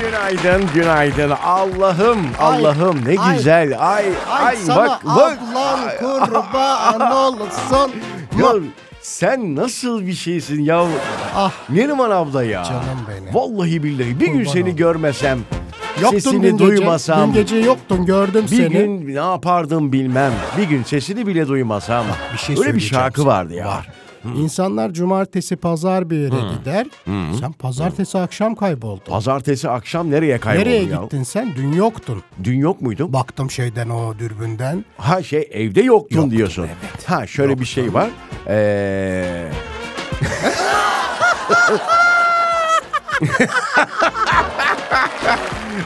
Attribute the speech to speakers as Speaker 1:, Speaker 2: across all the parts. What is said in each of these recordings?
Speaker 1: Günaydın, günaydın. Allah'ım, Allah'ım ne
Speaker 2: ay,
Speaker 1: güzel. Ay, ay,
Speaker 2: Ay, sana
Speaker 1: bak, bak.
Speaker 2: ablan kurban olsun.
Speaker 1: Ya sen nasıl bir şeysin ya?
Speaker 2: Ah.
Speaker 1: Neriman abla ya.
Speaker 2: Canım benim.
Speaker 1: Vallahi billahi bir gün
Speaker 2: Kurban
Speaker 1: seni
Speaker 2: olayım.
Speaker 1: görmesem,
Speaker 2: Yoktun
Speaker 1: sesini
Speaker 2: dün gece.
Speaker 1: duymasam,
Speaker 2: Dün gece yoktun gördüm
Speaker 1: bir
Speaker 2: seni.
Speaker 1: gün ne yapardım bilmem. Bir gün sesini bile duymasam.
Speaker 2: bir şey
Speaker 1: Öyle bir
Speaker 2: söyleyeceğim
Speaker 1: şarkı
Speaker 2: sana.
Speaker 1: vardı ya.
Speaker 2: Var. Hmm. İnsanlar cumartesi pazar bir yere
Speaker 1: Hmm.
Speaker 2: gider. Sen pazartesi akşam kayboldun.
Speaker 1: Pazartesi akşam nereye kayboldun
Speaker 2: Nereye
Speaker 1: Hmm. ya?
Speaker 2: gittin sen? Dün yoktun.
Speaker 1: Dün yok muydun?
Speaker 2: Baktım şeyden o dürbünden.
Speaker 1: Ha şey evde yoktun
Speaker 2: Yoktum,
Speaker 1: diyorsun.
Speaker 2: evet.
Speaker 1: Ha şöyle bir şey var. Ee...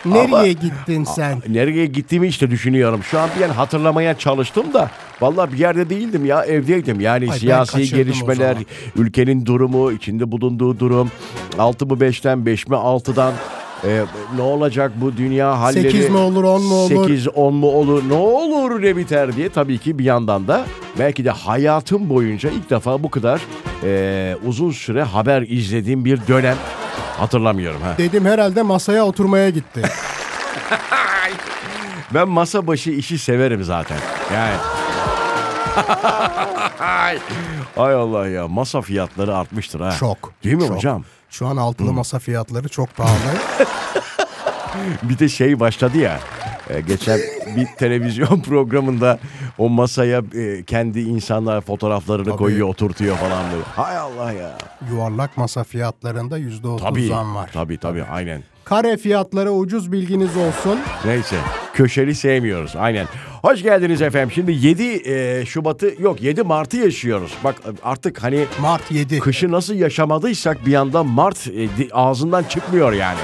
Speaker 2: Nereye gittin sen?
Speaker 1: Nereye gittiğimi işte düşünüyorum. Şu an bir an hatırlamaya çalıştım da vallahi bir yerde değildim ya evdeydim. Yani
Speaker 2: ben
Speaker 1: siyasi
Speaker 2: kaçırdım o
Speaker 1: gelişmeler,
Speaker 2: zaman.
Speaker 1: ülkenin durumu, içinde bulunduğu durum. 6 mı 5'ten 5 mi 6'dan e, ne olacak bu dünya halleri?
Speaker 2: Sekiz mi olur, on mu olur?
Speaker 1: 8 10 mu olur? Ne olur ne biter diye tabii ki bir yandan da belki de hayatım boyunca ilk defa bu kadar e, uzun süre haber izlediğim bir dönem hatırlamıyorum ha.
Speaker 2: Dedim herhalde masaya oturmaya gitti.
Speaker 1: Ben masa başı işi severim zaten. Yani. Ay Allah ya masa fiyatları artmıştır ha.
Speaker 2: Çok.
Speaker 1: Değil mi
Speaker 2: çok.
Speaker 1: hocam? Hmm.
Speaker 2: Şu an altılı masa fiyatları çok pahalı.
Speaker 1: Bir de şey başladı ya. e, Geçen bir televizyon programında o masaya e, kendi insanlar fotoğraflarını koyuyor, oturtuyor falan böyle. Hay Allah ya.
Speaker 2: Yuvarlak masa fiyatlarında yüzde
Speaker 1: Tabii.
Speaker 2: otuz zam var.
Speaker 1: Tabii tabii aynen.
Speaker 2: Kare fiyatları ucuz bilginiz olsun.
Speaker 1: Neyse köşeli sevmiyoruz aynen. Hoş geldiniz efendim. Şimdi 7 e, Şubat'ı yok 7 Mart'ı yaşıyoruz. Bak artık hani
Speaker 2: Mart 7.
Speaker 1: Kışı nasıl yaşamadıysak bir yandan Mart e, di- ağzından çıkmıyor yani.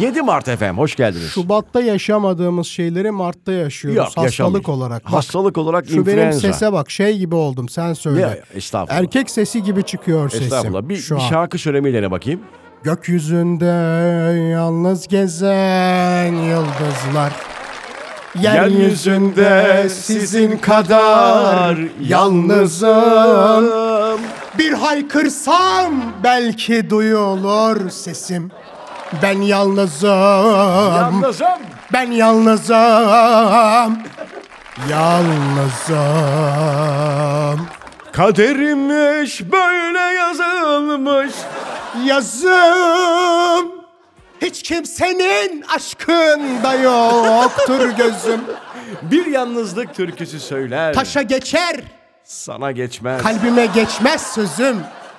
Speaker 1: 7 Mart efendim hoş geldiniz.
Speaker 2: Şubat'ta yaşamadığımız şeyleri Mart'ta yaşıyoruz.
Speaker 1: Yok,
Speaker 2: Hastalık
Speaker 1: yaşamayız.
Speaker 2: olarak. Bak,
Speaker 1: Hastalık olarak
Speaker 2: şu benim
Speaker 1: influenza.
Speaker 2: sese bak şey gibi oldum sen söyle.
Speaker 1: Ya, estağfurullah.
Speaker 2: Erkek sesi gibi çıkıyor sesim.
Speaker 1: Estağfurullah. Bir,
Speaker 2: şu
Speaker 1: bir
Speaker 2: an.
Speaker 1: şarkı söylemeyi dene bakayım.
Speaker 2: Gökyüzünde yalnız gezen yıldızlar. Yeryüzünde sizin kadar yalnızım. Bir haykırsam belki duyulur sesim. Ben yalnızım.
Speaker 1: Yalnızım.
Speaker 2: Ben yalnızım. Yalnızım.
Speaker 1: Kaderimmiş böyle yazılmış.
Speaker 2: Yazım. Hiç kimsenin aşkında yoktur gözüm.
Speaker 1: Bir yalnızlık türküsü söyler.
Speaker 2: Taşa geçer,
Speaker 1: Sana geçmez.
Speaker 2: kalbime geçmez sözüm.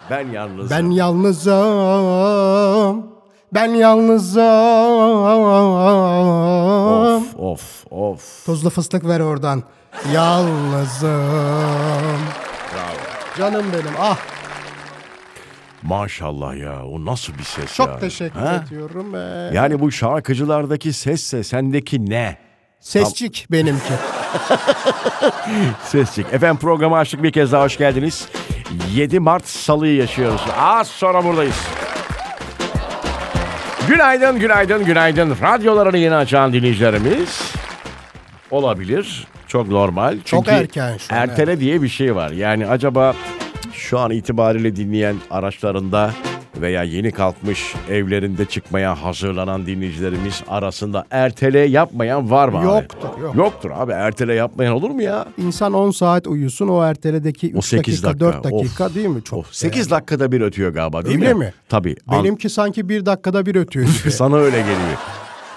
Speaker 1: ben yalnızım.
Speaker 2: Ben yalnızım. Ben yalnızım.
Speaker 1: Of of of.
Speaker 2: Tuzlu fıstık ver oradan. Yalnızım. Canım benim. Ah
Speaker 1: Maşallah ya o nasıl bir ses
Speaker 2: çok
Speaker 1: ya.
Speaker 2: teşekkür
Speaker 1: Ha?
Speaker 2: ediyorum. Ee,
Speaker 1: Yani bu şarkıcılardaki sesse sendeki ne?
Speaker 2: Sesçik benimki.
Speaker 1: Sesçik. Efendim programı açtık bir kez daha hoş geldiniz. 7 Mart Salı'yı yaşıyoruz. Az sonra buradayız. Günaydın, günaydın, günaydın. Radyolarını yeni açan dinleyicilerimiz olabilir. Çok normal. Çünkü
Speaker 2: erken şu an,
Speaker 1: Ertele diye bir şey var. Yani acaba şu an itibariyle dinleyen araçlarında veya yeni kalkmış evlerinde çıkmaya hazırlanan dinleyicilerimiz arasında ertele yapmayan var mı? abi?
Speaker 2: Yoktur, yok.
Speaker 1: Yoktur abi. Ertele yapmayan olur mu ya?
Speaker 2: İnsan 10 saat uyusun o erteledeki 3
Speaker 1: O 8
Speaker 2: dakika,
Speaker 1: dakika.
Speaker 2: 4 dakika değil mi? Çok.
Speaker 1: 8 Oh, dakikada bir ötüyor galiba değil
Speaker 2: Öyle
Speaker 1: mi?
Speaker 2: mi?
Speaker 1: Tabii. An-
Speaker 2: Benimki sanki 1 dakikada bir ötüyor. gibi.
Speaker 1: Sana öyle geliyor.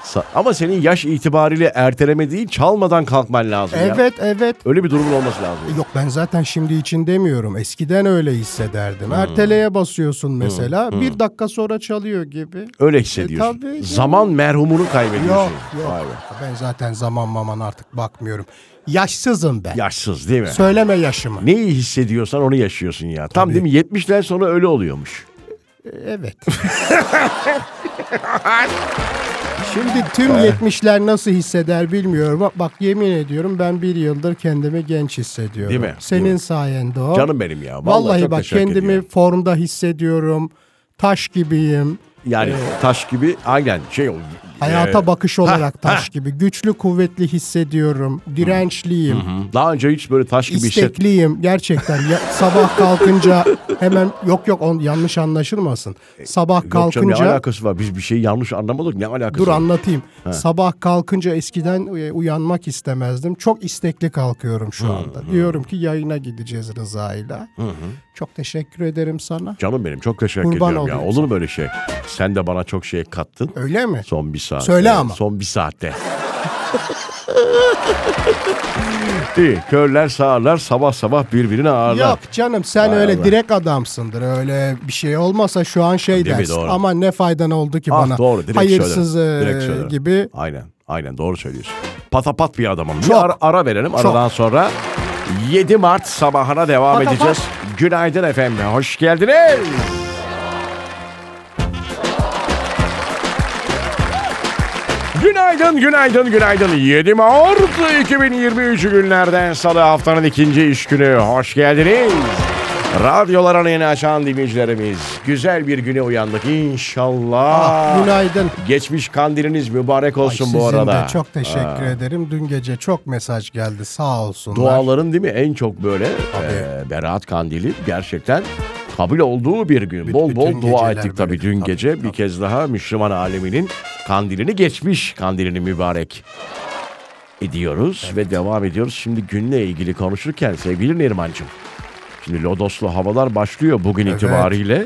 Speaker 1: Sa- Ama senin yaş itibariyle erteleme değil çalmadan kalkman lazım ya.
Speaker 2: evet evet.
Speaker 1: Öyle bir durumun olması lazım.
Speaker 2: Yok ben zaten şimdi için demiyorum. Eskiden öyle
Speaker 1: Hmm.
Speaker 2: hissederdim. Erteleye basıyorsun mesela. Bir dakika sonra çalıyor gibi.
Speaker 1: Öyle hissediyorsun.
Speaker 2: E, tabii.
Speaker 1: Zaman merhumunu kaybediyorsun.
Speaker 2: Yok
Speaker 1: Vay
Speaker 2: yok.
Speaker 1: be.
Speaker 2: Ben zaten zaman maman artık bakmıyorum. Yaşsızım ben.
Speaker 1: Yaşsız değil mi?
Speaker 2: Söyleme yaşımı.
Speaker 1: Neyi hissediyorsan onu yaşıyorsun ya. Tam değil mi? 70'ten sonra öyle oluyormuş.
Speaker 2: Evet. Şimdi tüm 70'ler nasıl hisseder bilmiyorum. Bak, bak yemin ediyorum ben bir yıldır kendimi genç hissediyorum.
Speaker 1: Değil mi?
Speaker 2: Senin
Speaker 1: Değil mi?
Speaker 2: sayende o.
Speaker 1: Canım benim ya. Vallahi,
Speaker 2: Vallahi,
Speaker 1: çok
Speaker 2: bak
Speaker 1: teşekkür
Speaker 2: kendimi
Speaker 1: ediyorum.
Speaker 2: formda hissediyorum. Taş gibiyim.
Speaker 1: Yani
Speaker 2: e,
Speaker 1: taş gibi aynen şey o.
Speaker 2: Hayata
Speaker 1: e,
Speaker 2: bakış olarak taş gibi. Güçlü, kuvvetli hissediyorum. Dirençliyim.
Speaker 1: Daha önce hiç böyle taş gibi hisset.
Speaker 2: istekliyim gerçekten. Ya- sabah kalkınca hemen yok yok on, yanlış anlaşılmasın. Sabah
Speaker 1: E, Yok canım, ne
Speaker 2: kalkınca
Speaker 1: alakası var? Biz bir şeyi yanlış anlamadık. Ne alakası
Speaker 2: dur
Speaker 1: var?
Speaker 2: anlatayım. Sabah kalkınca eskiden e, uyanmak istemezdim. Çok istekli kalkıyorum şu anda. Diyorum ki yayına gideceğiz Rıza'yla. Çok teşekkür ederim sana.
Speaker 1: Canım benim çok teşekkür
Speaker 2: Kurban
Speaker 1: ediyorum ya.
Speaker 2: olayım
Speaker 1: Olur mu böyle şey? Sen de bana çok şey kattın.
Speaker 2: Öyle mi?
Speaker 1: Son bir saat.
Speaker 2: Söyle
Speaker 1: Evet,
Speaker 2: ama.
Speaker 1: Son bir saatte. İyi. Körler sağırlar sabah sabah birbirini ağırlar.
Speaker 2: Yok canım sen
Speaker 1: Vay
Speaker 2: öyle
Speaker 1: Allah.
Speaker 2: direkt adamsındır. Öyle bir şey olmasa şu an şey
Speaker 1: Değil mi?
Speaker 2: dersin.
Speaker 1: Doğru.
Speaker 2: Ama ne faydan oldu ki
Speaker 1: Ah,
Speaker 2: bana?
Speaker 1: doğru direkt
Speaker 2: Hayırsız
Speaker 1: söylerim.
Speaker 2: e,
Speaker 1: Direkt Ah, söylerim.
Speaker 2: gibi.
Speaker 1: Aynen. Aynen doğru söylüyorsun. Patapat bir adamım. Bir
Speaker 2: Çok.
Speaker 1: ara, ara verelim. Aradan sonra 7 Mart sabahına devam
Speaker 2: Patapat.
Speaker 1: edeceğiz. Günaydın efendim. Hoş geldiniz. Günaydın, günaydın, günaydın. 7 Mart 2023 günlerden salı haftanın ikinci iş günü. Hoş geldiniz. Radyoların yeni açan dinleyicilerimiz. Güzel bir güne uyandık inşallah.
Speaker 2: Ah, günaydın.
Speaker 1: Geçmiş kandiliniz mübarek
Speaker 2: Ay,
Speaker 1: olsun
Speaker 2: Sizin
Speaker 1: bu arada. Ah.
Speaker 2: de çok teşekkür ederim. Dün gece çok mesaj geldi sağ olsunlar.
Speaker 1: Duaların değil mi en çok böyle e, Berat Kandili gerçekten kabul olduğu bir gün. bol bol
Speaker 2: bütün
Speaker 1: dua
Speaker 2: geceler
Speaker 1: ettik
Speaker 2: böyle.
Speaker 1: tabii dün
Speaker 2: Tabii,
Speaker 1: gece bir kez daha Müslüman aleminin kandilini geçmiş kandilini mübarek ediyoruz ve devam ediyoruz. Şimdi günle ilgili konuşurken sevgili Neriman'cığım şimdi Lodoslu havalar başlıyor bugün itibariyle.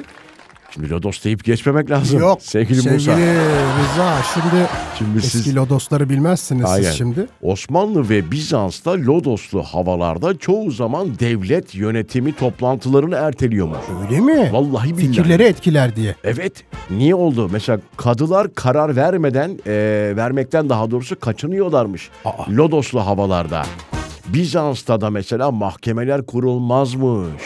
Speaker 1: Şimdi Lodos deyip geçmemek lazım.
Speaker 2: Yok
Speaker 1: Sevgili, Musa.
Speaker 2: Rıza şimdi,
Speaker 1: Şimdi
Speaker 2: eski
Speaker 1: siz-
Speaker 2: lodosları bilmezsiniz
Speaker 1: Aynen.
Speaker 2: siz şimdi.
Speaker 1: Osmanlı ve Bizans'ta Lodoslu havalarda çoğu zaman devlet yönetimi toplantılarını erteliyormuş.
Speaker 2: Öyle mi?
Speaker 1: Vallahi billahi.
Speaker 2: Fikirleri etkiler diye.
Speaker 1: Evet. Niye oldu? Mesela kadılar karar vermeden, e, vermekten daha doğrusu kaçınıyorlarmış. Lodoslu havalarda. Bizans'ta da mesela mahkemeler kurulmazmış.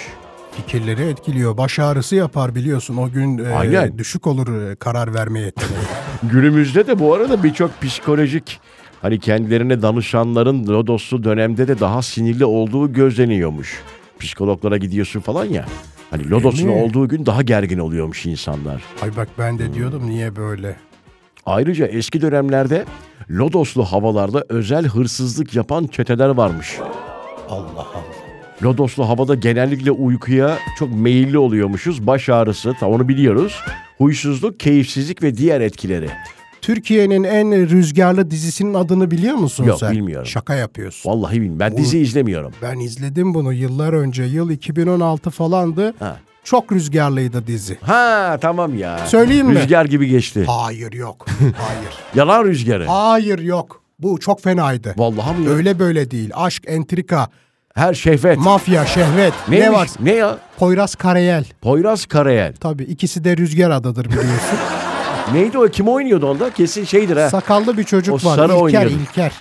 Speaker 2: Fikirleri etkiliyor. Baş ağrısı yapar biliyorsun. O gün e,
Speaker 1: Aynen.
Speaker 2: düşük olur e, karar vermeye yeteneği.
Speaker 1: Günümüzde de bu arada birçok psikolojik hani kendilerine danışanların Lodoslu dönemde de daha sinirli olduğu gözleniyormuş. Psikologlara gidiyorsun falan ya. Hani Lodos'un
Speaker 2: mi?
Speaker 1: olduğu gün daha gergin oluyormuş insanlar.
Speaker 2: Ay bak ben de diyordum niye böyle.
Speaker 1: Ayrıca eski dönemlerde Lodoslu havalarda özel hırsızlık yapan çeteler varmış.
Speaker 2: Allah Allah.
Speaker 1: Lodoslu havada genellikle uykuya çok meyilli oluyormuşuz. Baş ağrısı, ta onu biliyoruz. Huysuzluk, keyifsizlik ve diğer etkileri.
Speaker 2: Türkiye'nin en rüzgarlı dizisinin adını biliyor musun
Speaker 1: Yok,
Speaker 2: sen?
Speaker 1: bilmiyorum.
Speaker 2: Şaka yapıyorsun.
Speaker 1: Vallahi bilmiyorum. Ben dizi izlemiyorum.
Speaker 2: Ben izledim bunu yıllar önce. Yıl 2016 falandı.
Speaker 1: Ha.
Speaker 2: Çok rüzgarlıydı dizi.
Speaker 1: Ha tamam ya.
Speaker 2: Söyleyeyim mi?
Speaker 1: Rüzgar gibi geçti.
Speaker 2: Hayır yok. Hayır.
Speaker 1: Yalan rüzgarı.
Speaker 2: Hayır yok. Bu çok fenaydı.
Speaker 1: Vallahi mi? ya?
Speaker 2: Öyle böyle değil. Aşk, entrika,
Speaker 1: Her şehvet.
Speaker 2: mafya, şehvet.
Speaker 1: Neymiş?
Speaker 2: Ne var?
Speaker 1: Ne ya?
Speaker 2: Poyraz Karayel.
Speaker 1: Poyraz Karayel.
Speaker 2: Tabii ikisi de rüzgar adadır biliyorsun.
Speaker 1: Neydi o? Kim oynuyordu onda? Kesin şeydir ha.
Speaker 2: Sakallı bir çocuk
Speaker 1: O
Speaker 2: var.
Speaker 1: sarı
Speaker 2: İlker,
Speaker 1: oynuyordu.
Speaker 2: İlker.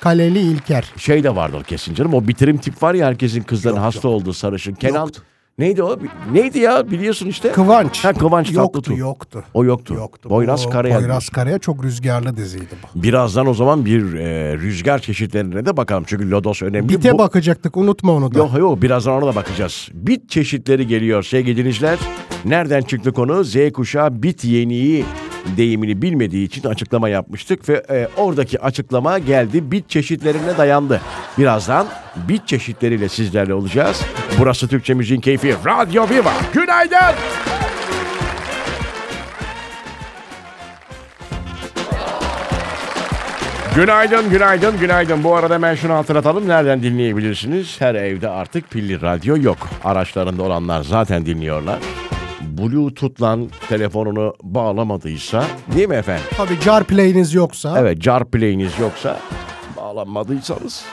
Speaker 2: Kaleli İlker.
Speaker 1: şey de vardı o kesin canım. O bitirim tip var ya herkesin kızların hasta olduğu sarışın. Kenan. Neydi o? Bi- Neydi ya? Biliyorsun işte.
Speaker 2: Kıvanç.
Speaker 1: Ha, Kıvanç
Speaker 2: yoktu,
Speaker 1: Tatlıtuğ.
Speaker 2: yoktu.
Speaker 1: O yoktu. Poyraz
Speaker 2: O
Speaker 1: Karayel.
Speaker 2: Poyraz Karayel çok rüzgarlı diziydi. bu.
Speaker 1: Birazdan o zaman bir e, rüzgar çeşitlerine de bakalım. Çünkü lodos önemli.
Speaker 2: Bite
Speaker 1: Bu-
Speaker 2: bakacaktık unutma onu da.
Speaker 1: Yok yok birazdan ona da bakacağız. Bit çeşitleri geliyor sevgili dinleyiciler. Nereden çıktı konu? Z kuşağı bit yeniği deyimini bilmediği için açıklama yapmıştık ve e, oradaki açıklama geldi bit çeşitlerine dayandı. Birazdan bit çeşitleriyle sizlerle olacağız. Burası Türkçe Müziğin Keyfi Radyo Viva. Günaydın. Günaydın, günaydın, günaydın. Bu arada ben şunu hatırlatalım. Nereden dinleyebilirsiniz? Her evde artık pilli radyo yok. Araçlarında olanlar zaten dinliyorlar. Bluetooth'la telefonunu bağlamadıysa değil mi efendim?
Speaker 2: Tabii CarPlay'iniz yoksa.
Speaker 1: Evet, CarPlay'iniz yoksa bağlanmadıysanız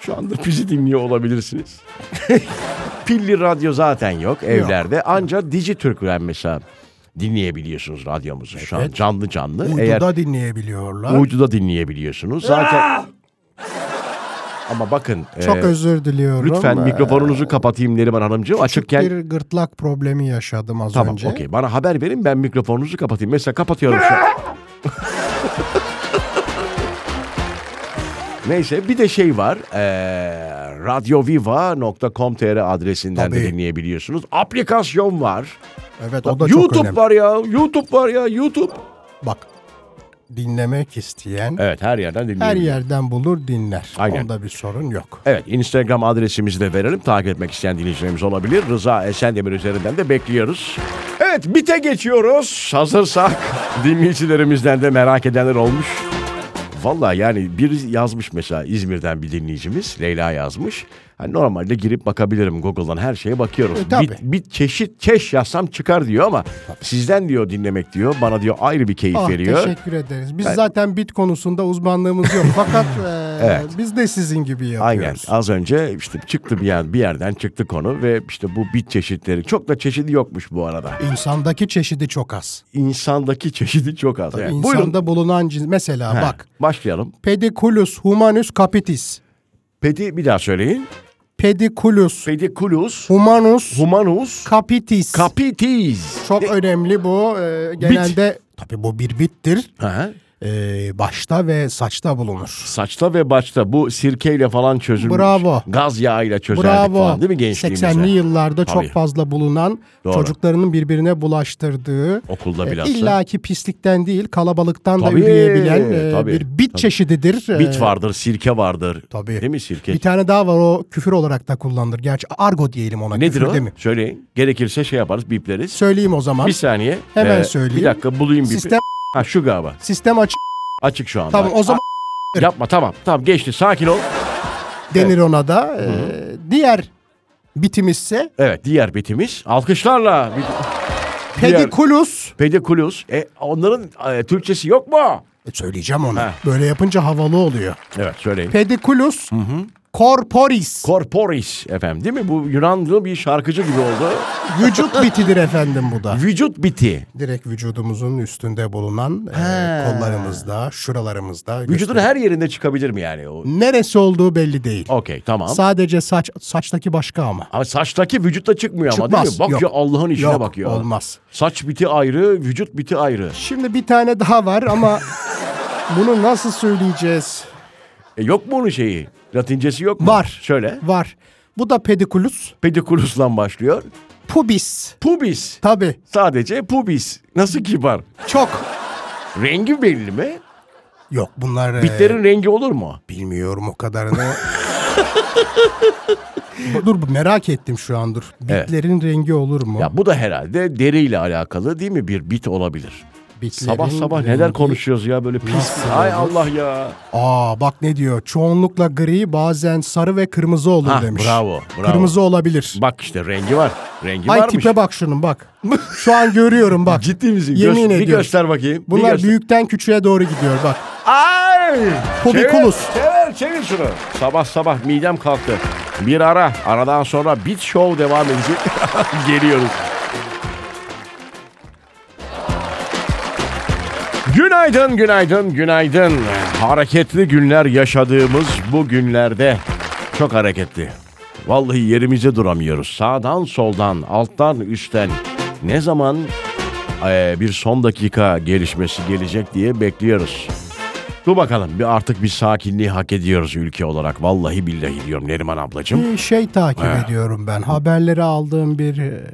Speaker 1: şu anda bizi dinliyor olabilirsiniz. Pilli radyo zaten yok evlerde. Ancak Dijitürk'ten mesela dinleyebiliyorsunuz radyomuzu şu an canlı canlı. Eğer
Speaker 2: Uyduda dinleyebiliyorlar.
Speaker 1: uyduda dinleyebiliyorsunuz. Zaten ama bakın
Speaker 2: Çok
Speaker 1: e,
Speaker 2: özür diliyorum.
Speaker 1: lütfen
Speaker 2: Ee,
Speaker 1: mikrofonunuzu kapatayım Neriman Hanımcığım. Açıkken
Speaker 2: Bir gırtlak problemi yaşadım az
Speaker 1: Tamam
Speaker 2: önce.
Speaker 1: okey. Bana haber verin ben mikrofonunuzu kapatayım. Mesela kapatıyorum şu an. Neyse bir de şey var. Ee, Eee radyoviva.com.tr adresinden de
Speaker 2: Tabii.
Speaker 1: dinleyebiliyorsunuz. Aplikasyon var.
Speaker 2: Evet o da
Speaker 1: YouTube
Speaker 2: çok önemli.
Speaker 1: var ya. YouTube var ya. YouTube.
Speaker 2: Bak dinlemek isteyen
Speaker 1: Evet her yerden
Speaker 2: her
Speaker 1: dinleyebilirsiniz.
Speaker 2: yerden bulur dinler.
Speaker 1: Aynen.
Speaker 2: Onda bir sorun yok.
Speaker 1: Evet Instagram adresimizi de verelim. Takip etmek isteyen dinleyicilerimiz olabilir. Rıza Esendemir üzerinden de bekliyoruz. Evet bite geçiyoruz. Hazırsak dinleyicilerimizden de merak edenler olmuş. Valla yani bir yazmış mesela İzmir'den bir dinleyicimiz Leyla yazmış. Hani normalde girip bakabilirim Google'dan her şeye bakıyorum.
Speaker 2: E, tabii.
Speaker 1: Bir, bir çeşit keş yazsam çıkar diyor ama sizden diyor dinlemek diyor. Bana diyor ayrı bir keyif
Speaker 2: Ah,
Speaker 1: veriyor.
Speaker 2: teşekkür ederiz. Biz zaten bit konusunda uzmanlığımız yok. Fakat e,
Speaker 1: Evet.
Speaker 2: biz de sizin gibi
Speaker 1: Aynen.
Speaker 2: yapıyoruz.
Speaker 1: Az önce işte çıktı bir yer bir yerden çıktı konu ve işte bu bit çeşitleri çok da çeşidi yokmuş bu arada.
Speaker 2: İnsandaki çeşidi çok az.
Speaker 1: İnsandaki çeşidi çok az. Evet. Buyurun.
Speaker 2: İnsanda bulunan cins mesela
Speaker 1: Ha,
Speaker 2: bak
Speaker 1: Başlayalım.
Speaker 2: pediculus humanus capitis.
Speaker 1: Pedi bir daha söyleyin.
Speaker 2: Pediculus
Speaker 1: Pediculus
Speaker 2: humanus
Speaker 1: humanus
Speaker 2: capitis.
Speaker 1: capitis.
Speaker 2: Çok önemli bu. Ee, genelde tabii bu bir bittir.
Speaker 1: Ha,
Speaker 2: Ee, başta ve saçta bulunur.
Speaker 1: saçta ve başta bu sirkeyle falan çözülmüş.
Speaker 2: Bravo.
Speaker 1: Gaz yağıyla çözerdik
Speaker 2: Bravo.
Speaker 1: falan değil mi gençliğimizde?
Speaker 2: 80'li yıllarda
Speaker 1: Tabii.
Speaker 2: çok fazla bulunan
Speaker 1: Doğru.
Speaker 2: çocuklarının birbirine bulaştırdığı
Speaker 1: Okulda
Speaker 2: e,
Speaker 1: bilhassa.
Speaker 2: illaki pislikten değil kalabalıktan
Speaker 1: Tabii,
Speaker 2: da üreyebilen e,
Speaker 1: tabii,
Speaker 2: bir bit
Speaker 1: tabii.
Speaker 2: çeşididir. E,
Speaker 1: Bit vardır, sirke vardır.
Speaker 2: Tabii.
Speaker 1: Değil mi sirke?
Speaker 2: Bir tane daha var o küfür olarak da kullanılır. Gerçi argo diyelim ona
Speaker 1: Nedir
Speaker 2: küfür
Speaker 1: o?
Speaker 2: değil mi?
Speaker 1: Söyleyin. Gerekirse şey yaparız, bipleriz.
Speaker 2: Söyleyeyim o zaman.
Speaker 1: Bir saniye. Ee,
Speaker 2: Hemen
Speaker 1: Bir
Speaker 2: söyleyeyim.
Speaker 1: dakika bulayım bir.
Speaker 2: Sistem
Speaker 1: Ha şu galiba.
Speaker 2: sistem açık.
Speaker 1: Açık şu anda.
Speaker 2: Tamam o zaman
Speaker 1: A- yapma tamam. Tamam geçti. Sakin ol.
Speaker 2: denir ona da. E, diğer bitimizse
Speaker 1: Evet diğer bitimiz. Alkışlarla. bit- Diğer-
Speaker 2: pediculus
Speaker 1: Pediculus. E, onların e, Türkçesi yok mu?
Speaker 2: E, Söyleyeceğim onu.
Speaker 1: Ha.
Speaker 2: Böyle yapınca havalı oluyor.
Speaker 1: Evet söyleyin.
Speaker 2: Pediculus corporis.
Speaker 1: Corporis efendim değil mi? Bu Yunanlı bir şarkıcı gibi oldu.
Speaker 2: Vücut bitidir efendim bu da.
Speaker 1: Vücut biti.
Speaker 2: Direkt vücudumuzun üstünde bulunan e,
Speaker 1: Ha.
Speaker 2: kollarımızda, şuralarımızda.
Speaker 1: Vücudun
Speaker 2: göster-
Speaker 1: her yerinde çıkabilir mi yani? o?
Speaker 2: Neresi olduğu belli değil.
Speaker 1: Okey tamam.
Speaker 2: Sadece saç saçtaki başka ama.
Speaker 1: ama saçtaki vücutta çıkmıyor ama değil mi?
Speaker 2: Çıkmaz,
Speaker 1: Bak
Speaker 2: yok.
Speaker 1: ya Allah'ın işine
Speaker 2: Yok,
Speaker 1: bak ya.
Speaker 2: olmaz.
Speaker 1: Saç biti ayrı, vücut biti ayrı.
Speaker 2: Şimdi bir tane daha var ama bunu nasıl söyleyeceğiz?
Speaker 1: E, yok mu onun şeyi? Latincesi yok mu?
Speaker 2: Var.
Speaker 1: Şöyle.
Speaker 2: Var. Bu da pediculus
Speaker 1: Pediculus'la başlıyor.
Speaker 2: pubis.
Speaker 1: Pubis.
Speaker 2: Tabii.
Speaker 1: Sadece pubis. Nasıl kibar?
Speaker 2: Çok.
Speaker 1: Rengi belli mi?
Speaker 2: Yok bunlar e,
Speaker 1: Bitlerin rengi olur mu?
Speaker 2: Bilmiyorum o kadarını. Bu- dur bu merak ettim şu an dur.
Speaker 1: Evet.
Speaker 2: Bitlerin rengi olur mu?
Speaker 1: Ya bu da herhalde deriyle alakalı değil mi? Bir bit olabilir.
Speaker 2: Bitlerin
Speaker 1: Sabah sabah
Speaker 2: rengi-
Speaker 1: neler konuşuyoruz ya böyle pis.
Speaker 2: Nasıl
Speaker 1: Ay
Speaker 2: olur?
Speaker 1: Allah ya.
Speaker 2: Aa bak ne diyor. Çoğunlukla gri bazen sarı ve kırmızı olur
Speaker 1: Hah,
Speaker 2: demiş.
Speaker 1: bravo, bravo.
Speaker 2: Kırmızı olabilir.
Speaker 1: Bak işte rengi var. Rengi
Speaker 2: Ay
Speaker 1: varmış.
Speaker 2: tipe bak şunun bak. Şu an görüyorum bak.
Speaker 1: Ciddi misin?
Speaker 2: Yemin
Speaker 1: Göz- bir
Speaker 2: ediyorum.
Speaker 1: göster bakayım. bir
Speaker 2: Bunlar
Speaker 1: göster.
Speaker 2: büyükten küçüğe doğru gidiyor bak.
Speaker 1: Ay!
Speaker 2: Pobikulus.
Speaker 1: Çevir, çevir, çevir şunu. Sabah sabah midem kalktı. Bir ara. Aradan sonra Bit Show devam edecek. Geliyoruz. Günaydın, günaydın, günaydın. Hareketli günler yaşadığımız bu günlerde çok hareketli. Vallahi yerimize duramıyoruz. Sağdan soldan, alttan üstten ne zaman eee, Ee, bir son dakika gelişmesi gelecek diye bekliyoruz. Dur bakalım bir artık bir sakinliği hak ediyoruz ülke olarak. Vallahi billahi diyorum Neriman ablacığım.
Speaker 2: Bir şey takip ediyorum ben. Haberleri aldığım bir e,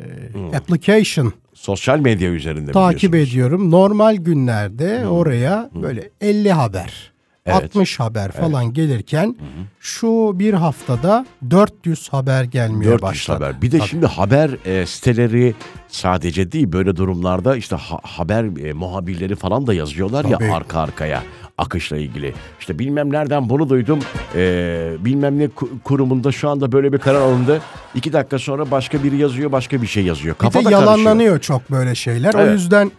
Speaker 2: application.
Speaker 1: Sosyal medya üzerinde
Speaker 2: takip
Speaker 1: Hmm. biliyorsunuz. Hmm.
Speaker 2: ediyorum. Normal günlerde oraya böyle 50 haber,
Speaker 1: Evet.
Speaker 2: 60 haber falan gelirken şu bir haftada 400 haber gelmeye
Speaker 1: 400
Speaker 2: başladı.
Speaker 1: haber. Bir de
Speaker 2: Tabii.
Speaker 1: şimdi haber e, siteleri sadece değil böyle durumlarda işte ha- haber e, muhabirleri falan da yazıyorlar
Speaker 2: Tabii.
Speaker 1: ya arka arkaya akışla ilgili. İşte bilmem nereden bunu duydum. e, bilmem ne ku- kurumunda şu anda böyle bir karar alındı. İki dakika sonra başka biri yazıyor başka bir şey yazıyor.
Speaker 2: Bir de
Speaker 1: Kafa da
Speaker 2: yalanlanıyor
Speaker 1: karışıyor.
Speaker 2: çok böyle şeyler. O
Speaker 1: Evet.
Speaker 2: yüzden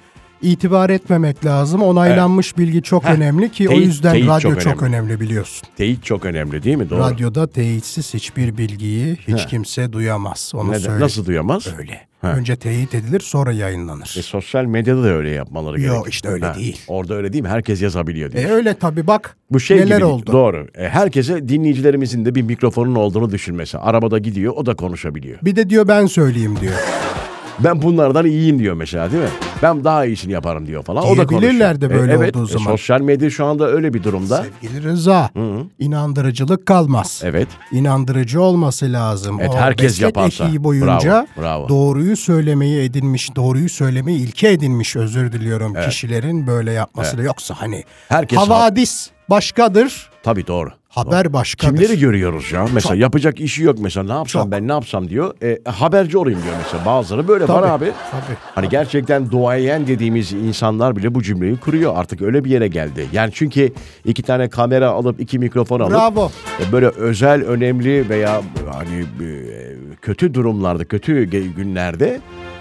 Speaker 2: itibar etmemek lazım. Onaylanmış bilgi çok önemli ki o
Speaker 1: Teyit-
Speaker 2: yüzden
Speaker 1: teyit
Speaker 2: radyo
Speaker 1: çok
Speaker 2: çok,
Speaker 1: önemli.
Speaker 2: önemli. biliyorsun.
Speaker 1: Teyit çok önemli değil mi? Doğru.
Speaker 2: Radyoda teyitsiz hiçbir bilgiyi hiç kimse duyamaz. Onu
Speaker 1: Neden-
Speaker 2: söyle.
Speaker 1: Nasıl duyamaz?
Speaker 2: Öyle.
Speaker 1: Ha.
Speaker 2: Önce teyit edilir sonra yayınlanır.
Speaker 1: E, sosyal medyada da öyle yapmaları
Speaker 2: Yo,
Speaker 1: gerekiyor.
Speaker 2: işte öyle değil.
Speaker 1: Orada öyle değil mi? Herkes yazabiliyor diye.
Speaker 2: E öyle tabii bak
Speaker 1: Bu şey
Speaker 2: neler
Speaker 1: gibi,
Speaker 2: oldu.
Speaker 1: Doğru. E, herkese dinleyicilerimizin de bir mikrofonun olduğunu düşünmesi. Arabada gidiyor o da konuşabiliyor.
Speaker 2: Bir de diyor ben söyleyeyim diyor.
Speaker 1: Ben bunlardan iyiyim diyor mesela değil mi? Ben daha iyisini yaparım diyor falan. O da
Speaker 2: Diyebilirler
Speaker 1: konuşuyor. E,
Speaker 2: de böyle
Speaker 1: evet,
Speaker 2: olduğu zaman.
Speaker 1: sosyal medya şu anda öyle bir durumda.
Speaker 2: Sevgili Rıza, inandırıcılık kalmaz.
Speaker 1: Evet.
Speaker 2: İnandırıcı olması lazım.
Speaker 1: Evet,
Speaker 2: O
Speaker 1: herkes
Speaker 2: meslek
Speaker 1: yaparsa.
Speaker 2: etiği boyunca
Speaker 1: Bravo, bravo.
Speaker 2: doğruyu söylemeyi edinmiş, doğruyu söylemeyi ilke edinmiş özür diliyorum kişilerin böyle yapması. da Yoksa hani
Speaker 1: Herkes
Speaker 2: havadis başkadır,
Speaker 1: Tabii doğru.
Speaker 2: haber başkadır.
Speaker 1: Kimleri görüyoruz ya? Mesela yapacak işi yok mesela. Ne yapsam ben ne yapsam diyor. E, haberci olayım diyor mesela. Bazıları böyle var
Speaker 2: Tabii,
Speaker 1: abi.
Speaker 2: tabii.
Speaker 1: Hani gerçekten duayen dediğimiz insanlar bile bu cümleyi kuruyor. Artık öyle bir yere geldi. Yani çünkü iki tane kamera alıp iki mikrofon alıp
Speaker 2: Bravo.
Speaker 1: e, böyle özel önemli veya hani e, kötü durumlarda, kötü ge- günlerde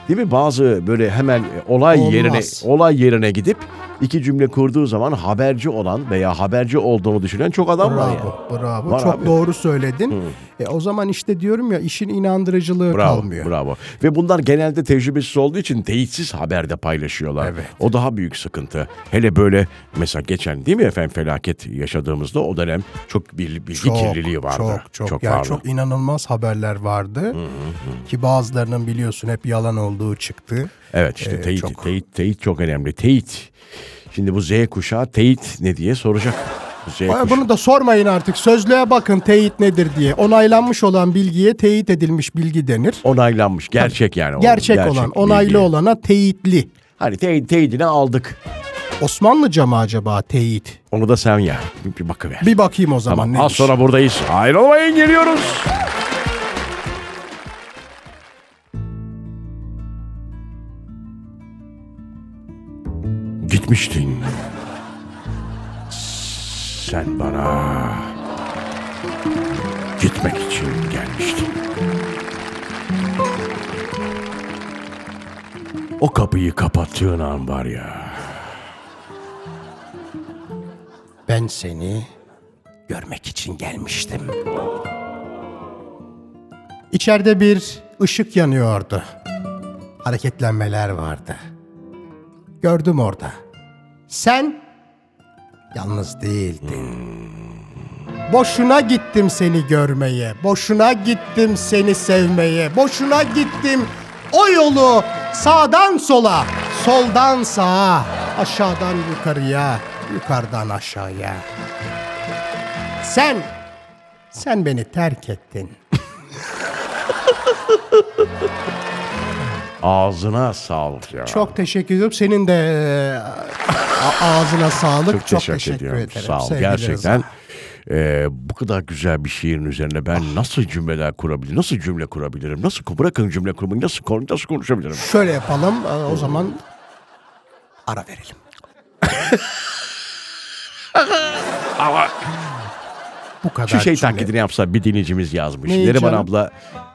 Speaker 1: değil mi? Bazı böyle hemen e, olay
Speaker 2: Olmaz.
Speaker 1: yerine olay yerine gidip iki cümle kurduğu zaman haberci olan veya haberci olduğunu düşünen çok adam var. yani.
Speaker 2: Bravo, bravo.
Speaker 1: Var
Speaker 2: Çok
Speaker 1: abi.
Speaker 2: doğru söyledin. E, o zaman işte diyorum ya işin inandırıcılığı
Speaker 1: Bravo,
Speaker 2: kalmıyor.
Speaker 1: bravo. Ve bunlar genelde tecrübesiz olduğu için teyitsiz haberde paylaşıyorlar.
Speaker 2: Evet.
Speaker 1: O daha büyük sıkıntı. Hele böyle mesela geçen değil mi efendim felaket yaşadığımızda o dönem çok bir bilgi kirliliği vardı.
Speaker 2: Çok çok. yani
Speaker 1: vardı.
Speaker 2: çok inanılmaz haberler vardı. Ki bazılarının biliyorsun hep yalan olduğu çıktı.
Speaker 1: Evet işte
Speaker 2: Ee,
Speaker 1: teyit,
Speaker 2: çok.
Speaker 1: teyit, teyit çok önemli. Teyit. Şimdi bu Z kuşağı teyit ne diye soracak. Bu Z
Speaker 2: Ay,
Speaker 1: kuşağı.
Speaker 2: Bunu da sormayın artık. Sözlüğe bakın teyit nedir diye. Onaylanmış olan bilgiye teyit edilmiş bilgi denir.
Speaker 1: Onaylanmış. Gerçek yani. o-
Speaker 2: Gerçek, olan, onaylı
Speaker 1: bilgi.
Speaker 2: olana teyitli.
Speaker 1: Hani teyit, teyidini aldık.
Speaker 2: Osmanlıca mı acaba teyit?
Speaker 1: Onu da sen ya. Bir, bir bakıver.
Speaker 2: Bir bakayım o zaman
Speaker 1: Tamam
Speaker 2: neymiş.
Speaker 1: az sonra buradayız. Ayrılmayın geliyoruz. Gitmiştin. Sen bana gitmek için gelmiştin. O kapıyı kapattığın an var ya.
Speaker 2: Ben seni görmek için gelmiştim. İçeride bir ışık yanıyordu. Hareketlenmeler vardı. Gördüm orada. Sen yalnız değildin. Boşuna gittim seni görmeye, boşuna gittim seni sevmeye, boşuna gittim o yolu sağdan sola, soldan sağa, aşağıdan yukarıya, yukarıdan aşağıya. Sen, sen beni terk ettin.
Speaker 1: Ağzına sağlık ya.
Speaker 2: Çok teşekkür ediyorum. Senin de e, a- ağzına sağlık. Çok, teşekkür,
Speaker 1: ediyorum.
Speaker 2: ederim.
Speaker 1: Sağ ol.
Speaker 2: Sevgili
Speaker 1: Gerçekten
Speaker 2: Rıza.
Speaker 1: eee, bu kadar güzel bir şiirin üzerine ben
Speaker 2: Ah.
Speaker 1: nasıl cümleler kurabilirim? Nasıl cümle kurabilirim? Nasıl bırakın cümle kurmayı? Nasıl konu nasıl konuşabilirim?
Speaker 2: Şöyle yapalım. e, O zaman ara verelim.
Speaker 1: Ama
Speaker 2: Bu kadar.
Speaker 1: şu şey
Speaker 2: cümle.
Speaker 1: taklidini yapsa bir dinleyicimiz yazmış.
Speaker 2: Neyi
Speaker 1: Neriman
Speaker 2: canım?
Speaker 1: abla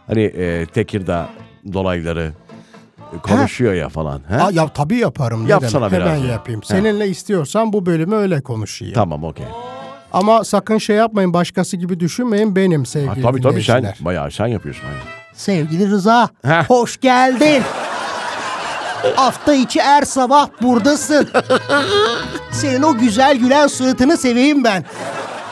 Speaker 1: hani eee Tekirdağ dolayları e, konuşuyor ya falan. He?
Speaker 2: Aa, ya tabii yaparım. ne
Speaker 1: Yapsana
Speaker 2: demek? Hemen
Speaker 1: biraz ya.
Speaker 2: yapayım.
Speaker 1: He.
Speaker 2: Seninle istiyorsan bu bölümü öyle konuşayım.
Speaker 1: Tamam okey.
Speaker 2: Ama sakın şey yapmayın. Başkası gibi düşünmeyin. Benim
Speaker 1: Ha,
Speaker 2: sevgili
Speaker 1: Tabii tabii sen
Speaker 2: dinleyiciler.
Speaker 1: bayağı sen yapıyorsun. Aynen.
Speaker 2: Sevgili Rıza,
Speaker 1: Heh.
Speaker 2: hoş geldin. Hafta içi her sabah buradasın. Senin o güzel gülen suratını seveyim ben.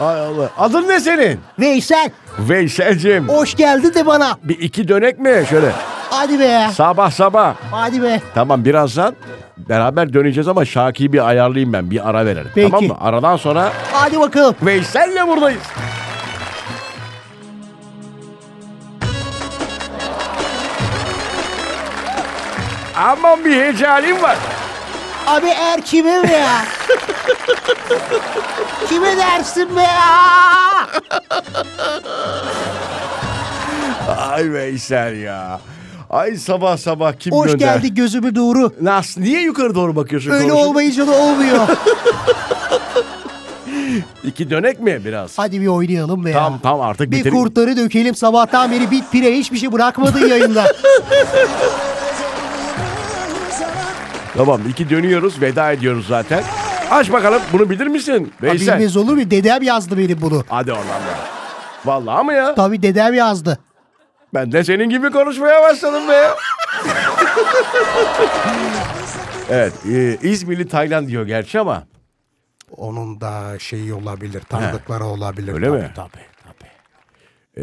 Speaker 1: Ay Allah. Adın ne senin?
Speaker 2: Veysel,
Speaker 1: Veysel'cim.
Speaker 2: hoş geldi de bana.
Speaker 1: Bir iki dönek mi şöyle?
Speaker 2: Hadi be,
Speaker 1: Sabah sabah.
Speaker 2: hadi be.
Speaker 1: Tamam birazdan beraber döneceğiz ama Şaki'yi bir ayarlayayım ben. Bir ara verelim.
Speaker 2: Peki.
Speaker 1: Tamam mı? Aradan sonra
Speaker 2: Hadi bakalım.
Speaker 1: Veysel'le buradayız. Aman bir heyecanım var.
Speaker 3: Abi er kime be ya? kime dersin be ya?
Speaker 1: Ay Veysel ya. Ay sabah sabah kim
Speaker 3: Hoş
Speaker 1: gönder?
Speaker 3: geldi gözümü doğru.
Speaker 1: Nasıl? Niye yukarı doğru bakıyorsun?
Speaker 3: Öyle
Speaker 1: konuşun?
Speaker 3: olmayınca da olmuyor.
Speaker 1: İki dönek mi biraz?
Speaker 3: Hadi bir oynayalım be ya.
Speaker 1: Tam tam artık
Speaker 3: Bir
Speaker 1: bitirin.
Speaker 3: kurtları dökelim sabahtan beri bit pire hiçbir şey bırakmadın yayında.
Speaker 1: Tamam iki dönüyoruz veda ediyoruz zaten. Aç bakalım bunu bilir misin?
Speaker 3: Ya
Speaker 1: Veysel.
Speaker 3: Bilmez olur mu? Dedem yazdı benim bunu.
Speaker 1: Hadi oradan be. Vallahi mı ya?
Speaker 3: Tabii dedem yazdı.
Speaker 1: Ben de senin gibi konuşmaya başladım be. evet, e, İzmirli Taylan diyor gerçi ama
Speaker 2: Onun da şeyi olabilir, tanıdıkları olabilir.
Speaker 1: Öyle
Speaker 2: tabii,
Speaker 1: mi?
Speaker 2: Tabii tabii.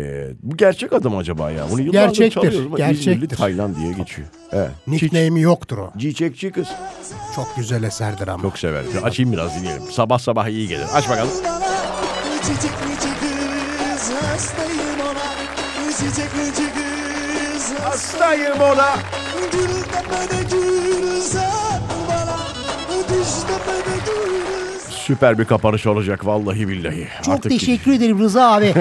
Speaker 1: Ee, bu gerçek adam acaba ya? Bunu yıllardır
Speaker 2: Gerçektir,
Speaker 1: çalıyoruz ama
Speaker 2: gerçektir.
Speaker 1: İzmirli Taylan diye geçiyor. Evet.
Speaker 2: Nickname'i yoktur o.
Speaker 1: Çiçekçi kız.
Speaker 2: Çok güzel eserdir ama.
Speaker 1: Çok sever. Bir Açayım biraz dinleyelim. Sabah sabah iyi gelir. Aç bakalım.
Speaker 4: Nicecik niceciz hastayım ona Nicecik niceciz
Speaker 1: Hastayım ona.
Speaker 4: Gülden bana gül sen bana Düşten bana gül sen
Speaker 1: Süper bir kapanış olacak vallahi billahi.
Speaker 3: Çok
Speaker 1: Artık gidiyor.
Speaker 3: teşekkür ederim Rıza abi.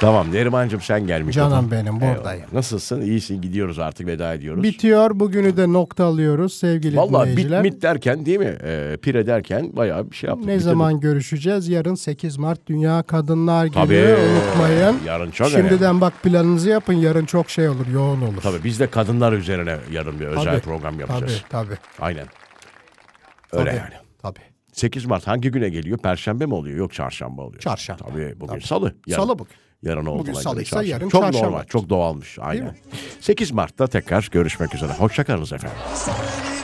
Speaker 1: Tamam Nerimancığım sen gel mikrofon.
Speaker 2: Canım benim buradayım.
Speaker 1: Eyvallah. Nasılsın? İyisin. Gidiyoruz artık veda ediyoruz.
Speaker 2: Bitiyor. Bugünü de nokta alıyoruz sevgili
Speaker 1: Vallahi bit
Speaker 2: dinleyiciler.
Speaker 1: mit derken değil mi? Ee, pire derken bayağı bir şey yaptık.
Speaker 2: Ne
Speaker 1: bitirdik.
Speaker 2: zaman görüşeceğiz? Yarın 8 Mart Dünya Kadınlar Günü.
Speaker 1: Tabii.
Speaker 2: Unutmayın.
Speaker 1: Yarın çok
Speaker 2: Şimdiden
Speaker 1: önemli.
Speaker 2: bak planınızı yapın. Yarın çok şey olur, yoğun olur.
Speaker 1: Tabii biz de kadınlar üzerine yarın bir özel
Speaker 2: Tabii.
Speaker 1: program
Speaker 2: Tabii,
Speaker 1: yapacağız.
Speaker 2: tabii.
Speaker 1: Aynen. Öyle
Speaker 2: tabii,
Speaker 1: yani.
Speaker 2: Tabii.
Speaker 1: 8 Mart hangi güne geliyor? Perşembe mi oluyor? Yok çarşamba oluyor.
Speaker 2: Çarşamba.
Speaker 1: Tabii bugün salı. Yarın.
Speaker 2: Salı bugün.
Speaker 1: Yarın olduğuna
Speaker 2: Bugün
Speaker 1: göre
Speaker 2: salıysa
Speaker 1: çarşamba.
Speaker 2: yarın
Speaker 1: Çok
Speaker 2: çarşamba.
Speaker 1: normal, çok doğalmış. Aynen. 8 Mart'ta tekrar görüşmek üzere. Hoşçakalınız efendim.
Speaker 4: Sarı